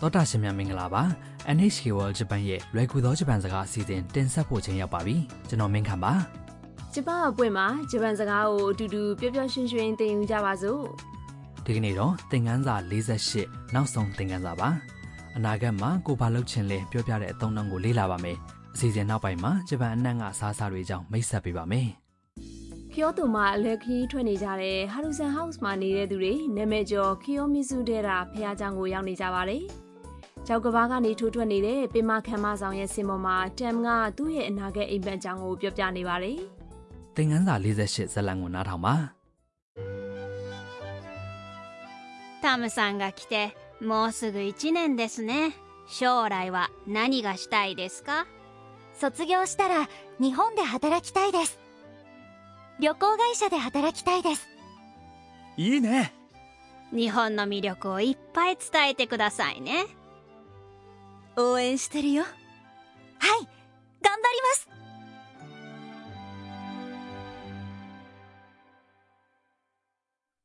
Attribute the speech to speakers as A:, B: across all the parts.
A: သောတာရှင်များမင်္ဂလာပါ NHK World Japan ရဲ့လွယ်ကူသောဂျပန်စကားအစီအစဉ်တင်ဆက်ဖို့ချိန်ရောက်ပါပြီကျွန်တော်မင်းခမ်းပါ
B: ဂျပန်အပွင့်မှာဂျပန်စကားကိုအတူတူပျော်ပျော်ရွှင်ရွှင်သင်ယူကြပါစို့
A: ဒီကနေ့တော့သင်ခန်းစာ48နောက်ဆုံးသင်ခန်းစာပါအနာဂတ်မှာကိုဘာလုပ်ချင်လဲပြောပြတဲ့အသုံးအနှုန်းကိုလေ့လာပါမယ်အစီအစဉ်နောက်ပိုင်းမှာဂျပန်အနှံ့ကအစားအစာတွေအကြောင်းမိတ်ဆက်ပေးပါမယ်
B: ။ခီယိုတိုမှာအလဲခီးထွက်နေကြတဲ့ဟာရူဆန်ဟောက်စ်မှာနေတဲ့သူတွေနာမည်ကျော်ခီယိုမီဇူဒေရာဖះเจ้าကိုရောက်နေကြပါတယ်။ကျောက်ကဘာကနေထိုးထွက်နေတဲ့ပင်မခမ်းမဆောင်ရဲ့စင်ပေါ်မှာတမ်ကသူ့ရဲ့အနာဂတ်အိမ်ပန်ကြောင်ကိုပြောပြနေပါတယ်
A: သင်ခန်းစာ48ဇာတ်လမ်းကိုနားထောင်ပါ
C: タムさんが来てもうすぐ1年ですね将来は何がしたいですか
D: 卒業したら日本で働きたいです旅行会社で働きたいです
E: いいね
C: 日本の魅力をいっぱい伝えてくださいね
D: 応援してるよはい頑張ります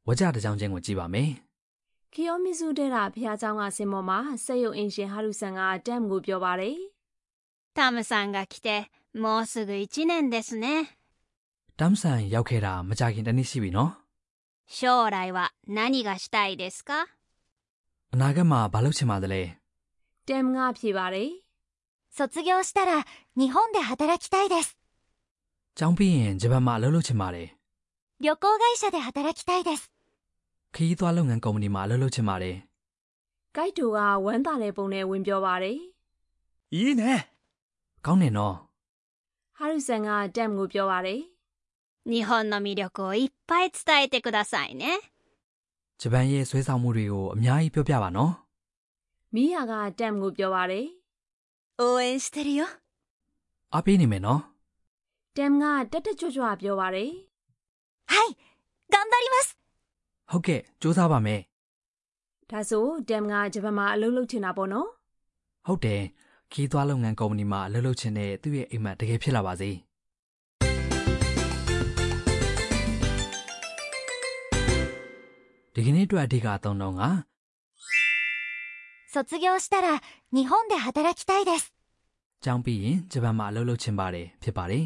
A: ဝကြတစ်ကြောင်းချင်းကိုကြည့်ပါမယ်
B: ။ခီယိုမီဇူဒေရာဖះเจ้าကစင်ပေါ်မှာစက်ရုပ်အင်ရှင်ဟာရူဆန်ကတမ်ကိုပြောပါတယ်။
C: タムさんが来てもうすぐ1年ですね
A: တမ်ဆန်ရောက်ခဲ့တာမကြခင်တစ်နေ့ရှိပြီနော်
C: 将来は何がしたいですか
A: အနာဂတ်မှာဘာလုပ်ချင်ပါသလဲ
B: တမ်ကဖြေပါတယ်
D: 卒業したら日本で働きたいです
A: ကျောင်းပြီးရင်ဂျပန်မှာအလုပ်လုပ်ချင်ပါတယ်
D: 旅行会社で働きたいです
A: ခရီးသွားလုပ်ငန်းကုမ္ပဏီမှာအလုပ်လုပ်ချင်ပါတယ်
B: ။ဂိုက်တိုကဝမ်းသာတဲ့ပုံနဲ့ဝင်ပြောပါတယ်
E: いいね
A: ကောင်းနေနော်
B: ။ဟာရူဆန်ကတမ်ကိုပြောပါတယ်
C: 日本の魅力をいっぱい伝えてくださいね
A: ဂျပန်ရဲ့ဆွဲဆောင်မှုတွေကိုအများကြီးပြောပြပါနော်
B: ။မီးယာကတမ်ကိုပြောပါတယ်
D: 応援してるよ
A: အားပေးနေမယ်နော်
B: ။တမ်ကတက်တက်ကြွကြွပြောပါတယ်
D: はい頑張ります
A: ဟုတ်ကဲ့စူးစမ်းပါမယ်
B: ။ဒါဆိုတမ်ကဂျပန်မှာအလုပ်လုပ်ချင်တာပေါ့နော်
A: ဟုတ်တယ်ခီးသွားလုပ်ငန်းကုမ္ပဏီမှာအလုပ်လုပ်ချင်တဲ့သူ့ရဲ့အိမ်မက်တကယ်ဖြစ်လာပါစေဒီကနေ့အတွက်အဓိကအသုံးတော့က
D: 卒業したら日本で働きたいです
A: ကျောင်းပြီးရင်ဂျပန်မှာအလုပ်လုပ်ချင်ပါတယ်ဖြစ်ပါတယ်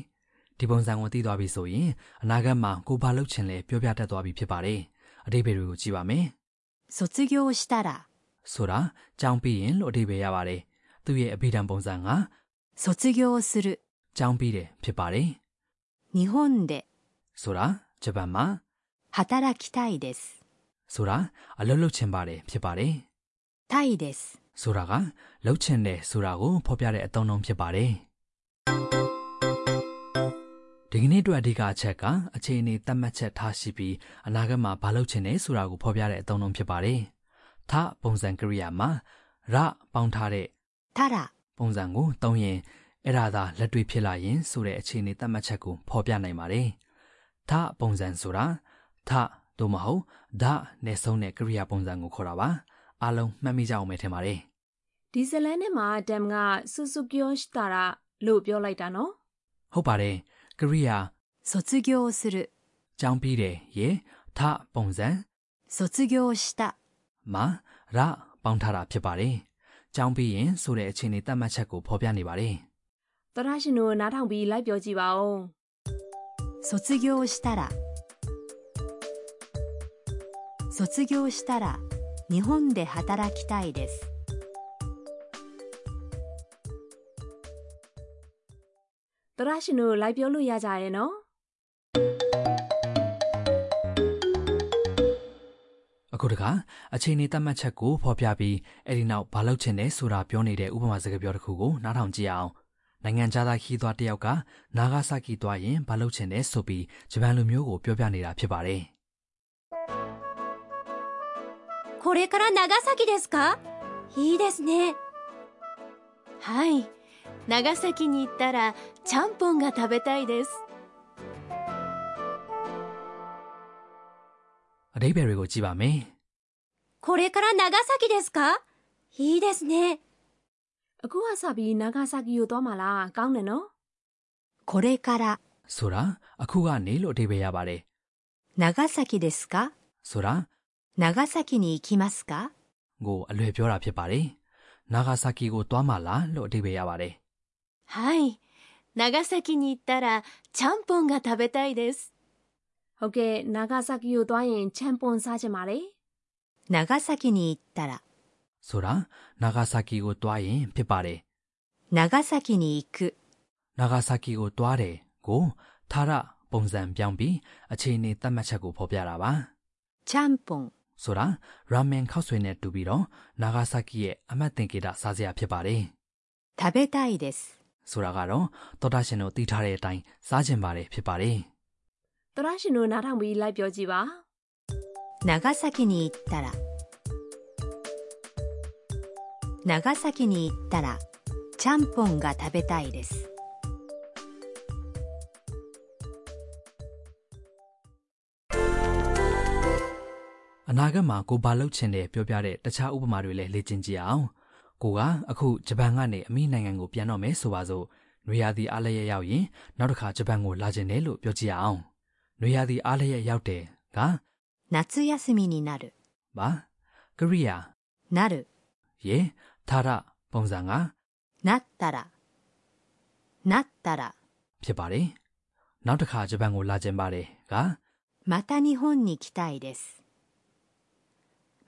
A: ဒီပုံစံကိုသိသွားပြီဆိုရင်အနာဂတ်မှာကိုဘာလုပ်ချင်လဲပြောပြတတ်သွားပြီဖြစ်ပါတယ်အတိအပယ်တွေကိုကြည့်ပါမယ်
D: 卒業したら
A: ဆိုတာကြောင်းပြီးရင်လို့အဓိပ္ပာယ်ရပါတယ်။သူ့ရဲ့အဘိဓမ္မာပုံစံက
D: 卒業する
A: ကြောင်းပြီးတယ်ဖြစ်ပါတယ်
D: 日本で
A: ။ဆိုတာဂျပန်မှာ
D: 働きたいです
A: ဆိုတာအလုပ်လုပ်ချင်ပါတယ်ဖြစ်ပါတယ်
D: たいです
A: ။ဆိုတာကလုပ်ချင်တယ်ဆိုတာကိုဖော်ပြတဲ့အသုံးအနှုန်းဖြစ်ပါတယ်။ဒီကနေ့အတွက်အဓိကအချက်ကအခြေအနေသတ်မှတ်ချက်ထားရှိပြီးအနာဂတ်မှာဘာလုပ်ချင်လဲဆိုတာကိုဖော်ပြတဲ့အသုံးအနှုန်းဖြစ်ပါတယ်။ထပုံစံကရိယာမှာရပေါင်းထားတဲ့
D: たら
A: ပုံစံကိုတုံးရင်အဲ့ဒါသာလက်တွေ့ဖြစ်လာရင်ဆိုတဲ့အခြေအနေသတ်မှတ်ချက်ကိုဖော်ပြနိုင်ပါတယ်။ထပုံစံဆိုတာထတို့မဟုတ်ဒနဲ့ဆုံးတဲ့ကရိယာပုံစံကိုခေါ်တာပါ။အားလုံးမှတ်မိကြအောင်ပဲထင်ပါတယ်
B: ။ဒီဇလန်နဲ့မှာတမ်ကဆူဆူကီယောရှတာရာလို့ပြောလိုက်တာနော်
A: ။ဟုတ်ပါတယ်။ကရိယာ
D: 卒業する
A: ကြောင်းပြီးတယ်ရေထပုံစံ
D: 卒業した
A: မှာရပေါင်းထားတာဖြစ်ပါတယ်။ကြောင်းပြီးရင်ဆိုတဲ့အခြေအနေသတ်မှတ်ချက်ကိုဖော်ပြနေပါတယ်။
B: ။သရရှင်တို့နားထောင်ပြီးလိုက်ပြောကြည့်ပါဦး
D: 卒業したら卒業したら日本で働きたいです
B: ။သရရှင်တို့လိုက်ပြောလို့ရကြရဲ့နော်
A: အခုတခါအချိန်နေသတ်မှတ်ချက်ကိုဖော်ပြပြီးအဲ့ဒီနောက်ဘာလုပ်ချင်လဲဆိုတာပြောနေတဲ့ဥပမာစကားပြောတစ်ခုကိုနားထောင်ကြည့်အောင်နိုင်ငံခြားသားခီးသွားတစ်ယောက်ကနာဂါဆာကီသွားရင်ဘာလုပ်ချင်လဲဆိုပြီးဂျပန်လူမျိုးကိုပြောပြနေတာဖြစ်ပါတယ်
C: これから長崎ですか
D: いいですねはい長崎に行ったらちゃんぽんが食べたいです
A: အတိပ္ပယ်တွေကိုကြည့်ပါမယ်
C: これから長崎ですか
D: いいですね
B: ။အခုကစပြီးနာဂါဆာကီကိုသွားမှာလား။ကောင်းတယ်နော်
D: これから
A: ဆိုတာအခုကနေလို့အတိပ္ပယ်ရပါတယ်
D: 長崎ですか
A: ဆိုတာ
D: 長崎に行きますか
A: ကိုအလွယ်ပြောတာဖြစ်ပါတယ် နာဂါဆာကီကိုသွားမှလားလို့အဓိပ္ပာယ်ရပါတယ်
D: はい長崎に行ったらちゃんぽんが食べたいです
B: ဟုတ်ကဲ့နာဂါဆာကီကိုသွားရင်ချမ်ပွန်စားချင်ပါတယ်
F: 長崎に行ったら
A: ။ဆိုတာနာဂါဆာကီကိုသွားရင်ဖြစ်ပါတယ်
F: 長崎に行く
A: ။နာဂါဆာကီကိုသွားတယ်ကိုသာရပုံစံပြောင်းပြီးအခြေအနေသတ်မှတ်ချက်ကိုဖော်ပြတာပါ
F: ちゃんぽん
A: ။ဆိုတာရာမင်ခောက်ဆွေနဲ့တူပြီးတော့နာဂါဆာကီရဲ့အမှတ်သင်္ကေတစားစရာဖြစ်ပါတယ်
F: 食べたいです
A: ။ဆိုတာကတော့သောတာရှင်တို့တည်ထားတဲ့အတိုင်းစားချင်ပါတယ်ဖြစ်ပါတယ်။
B: သရရှင်တို့နားထောင်ပြီးလိုက်ပြောကြည့်ပါ
F: 長崎に行ったら長崎に行ったらちゃんぽんが食べたいです
A: အနာဂတ်မှာကိုဘာလုပ်ချင်တယ်ပြောပြတဲ့တခြားဥပမာတွေလည်းလေ့ကျင့်ကြည့်အောင်ကိုကအခုဂျပန်ကနေအမိနိုင်ငံကိုပြန်တော့မယ်ဆိုပါစို့နွေရာသီအားလည်းရောက်ရင်နောက်တစ်ခါဂျပန်ကိုလာချင်တယ်လို့ပြောကြည့်အောင်နွေရာသီအားလည်းရောက်တယ်က
F: 夏休みになる
A: ဘာကရိယာ
F: なる
A: ရေသာရပုံစံက
F: なったらなったら
A: ဖြစ်ပါတယ်နောက်တစ်ခါဂျပန်ကိုလာချင်ပါတယ်က
F: また日本に来たいです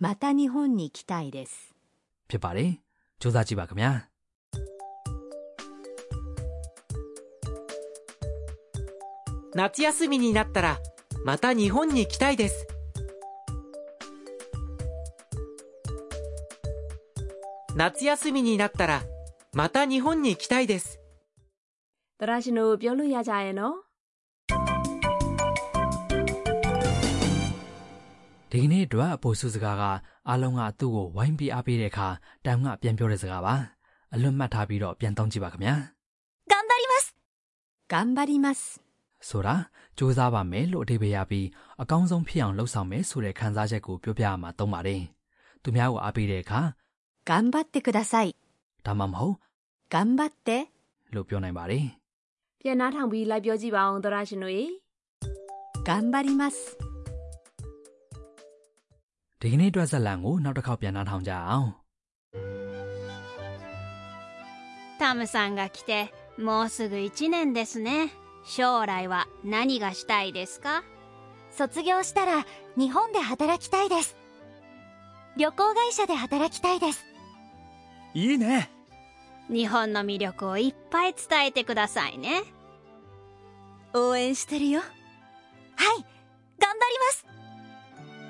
F: また日本に来たいです
A: ဖြစ်ပါတယ်စူးစမ်းကြည့်ပါခင်ဗျာ
G: 夏休みになったらまた日本に来たいです夏休みになったらまた日本に来たいです
B: သရရှင်တို့ပြောလို့ရကြရဲ့နော်
A: ဒီကနေ့အတွက်အဖို့စုစကားကအားလုံးကသူ့ကိုဝိုင်းပြီးအားပေးတဲ့အခါတန်ကပြန်ပြောတဲ့စကားပါအလွတ်မှတ်ထားပြီးတော့ပြန်သုံးကြည့်ပါခင်ဗျာ
C: 頑張ります
F: 頑張ります
A: ဆိုတာစူးစမ်းပါမယ်လို့အထိပ္ပယ်ရပြီးအကောင်းဆုံးဖြစ်အောင်လှုပ်ဆောင်မယ်ဆိုတဲ့ခံစားချက်ကိုပြောပြရမှာသုံးပါတယ်သူများကိုအားပေးတဲ့အခါ
F: 頑張ってください
A: ဒါမှမဟုတ်
F: 頑張って
A: လို့ပြောနိုင်ပါတယ်
B: ပြန်နားထောင်ပြီးလိုက်ပြောကြည့်ပါအောင်သောရရှင်တို့ရေ
F: 頑張ります
A: ဒီကနေ့အတွက်ဇာတ်လမ်းကိုနောက်တစ်ခေါက်ပြန်နှာထောင်ကြအောင်
C: タムさんが来てもうすぐ1年ですね将来は何がしたいですか
H: 卒業したら日本で働きたいです旅行会社で働きたいです
E: いいね
C: 日本の魅力をいっぱい伝えてくださいね
H: 応援してるよはい頑張ります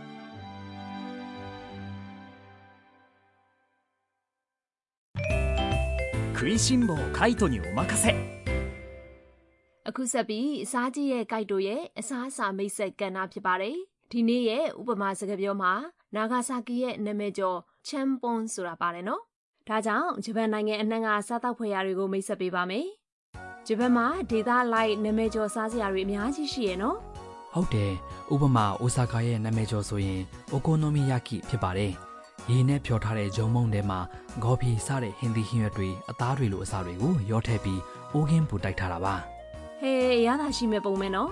E: 食いしん坊カイトにお任せ
B: အခုဆက်ပြီးအစားကြီးရဲ့ကြိုက်တို့ရဲ့အစားအစာမိတ်ဆက်ကဏ္ဍဖြစ်ပါတယ်ဒီနေ့ရဲ့ဥပမာစကားပြောမှာနာဂါဆာကီရဲ့နာမည်ကျော်ချမ်ပွန်ဆိုတာပါတယ်နော်ဒါကြောင့်ဂျပန်နိုင်ငံအနှံ့ကစားတောက်ဖွဲ့ရာတွေကိုမိတ်ဆက်ပေးပါမယ်ဂျပန်မှာဒေသလိုက်နာမည်ကျော်စားစရာတွေအများကြီးရှိရယ်နော်
A: ဟုတ်တယ်ဥပမာအိုဆာကာရဲ့နာမည်ကျော်ဆိုရင်အိုကိုနိုမီယာကီဖြစ်ပါတယ်ရေနဲ့ဖြောထားတဲ့ဂျုံမုံထဲမှာဂေါ်ဖီစတဲ့ဟင်ဒီဟင်းရွက်တွေအသားတွေလိုအစာတွေကိုရောထည့်ပြီးအိုးကင်းပူတိုက်ထားတာပါ
B: ဟေးရတာရှိမဲ့ပုံမဲနော်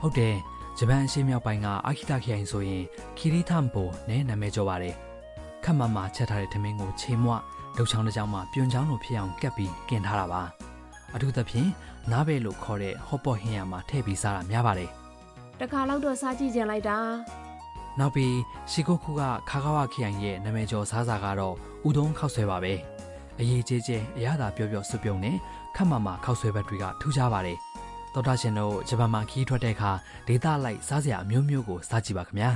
A: ဟုတ်တယ်ဂျပန်အရှေ့မြောက်ပိုင်းကအာခိတခရိုင်ဆိုရင်ခီရီထမ်ပိုနဲ့နာမည်ကျော်ပါတယ်ခက်မမချက်ထားတဲ့ထမင်းကိုချေမွဒုတ်ချောင်းတစ်ချောင်းမှာပြွန်ချောင်းလိုဖြစ်အောင်ကပ်ပြီးกินထားတာပါအထူးသဖြင့်နားဘဲလို့ခေါ်တဲ့ဟော့ပေါ့ဟင်းရမှာထည့်ပြီးစားတာများပါတယ်
B: တခါလောက်တော့စားကြည့်ကြင်လိုက်တာ
A: နောက်ပြီးရှီကိုခုကခါကာဝခရိုင်ရဲ့နာမည်ကျော်စားစာကတော့ဥဒုံးခောက်ဆွဲပါပဲအရေးကြီးကြီးအရသာပြောပြောစုပြုံနဲ့ခက်မမခောက်ဆွဲဘက်တွေကထူးခြားပါတယ်တော်တာရှင်တို့ဂျပန်မှာခီးထွက်တဲ့အခါဒေသလိုက်စားစရာအမျိုးမျိုးကိုစားကြည့်ပါခင်ဗျာ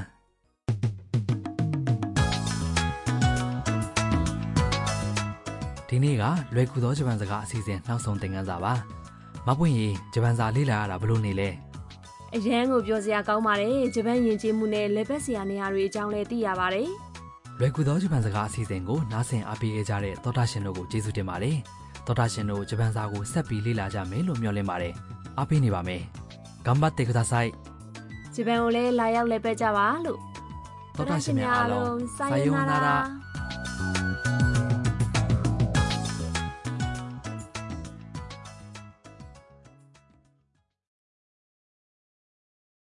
A: ဒီနေ့ကလွယ်ကူသောဂျပန်စကားအစီအစဉ်နောက်ဆုံးသင်ခန်းစာပါ။မပွင့်ရင်ဂျပန်စာလေ့လာရတာဘယ်လိုနေလဲ
B: အရန်ကိုပြောစရာကောင်းပါတယ်ဂျပန်ယဉ်ကျေးမှုနဲ့လက်ပတ်စရာနေရာတွေအကြောင်းလည်းသိရပါတယ်
A: ။လွယ်ကူသောဂျပန်စကားအစီအစဉ်ကိုနားဆင်အားပေးခဲ့ကြတဲ့သောတာရှင်တို့ကိုကျေးဇူးတင်ပါတယ်။သောတာရှင်တို့ဂျပန်စာကိုဆက်ပြီးလေ့လာကြမယ်လို့မျှော်လင့်ပါတယ်။အားပေးနေပါမယ်။頑張ってください
B: ဂျပန်ကိုလည်းလာရောက်လဲပဲကြပါလို့
A: ။သောတာရှင်များအားလုံးさようなら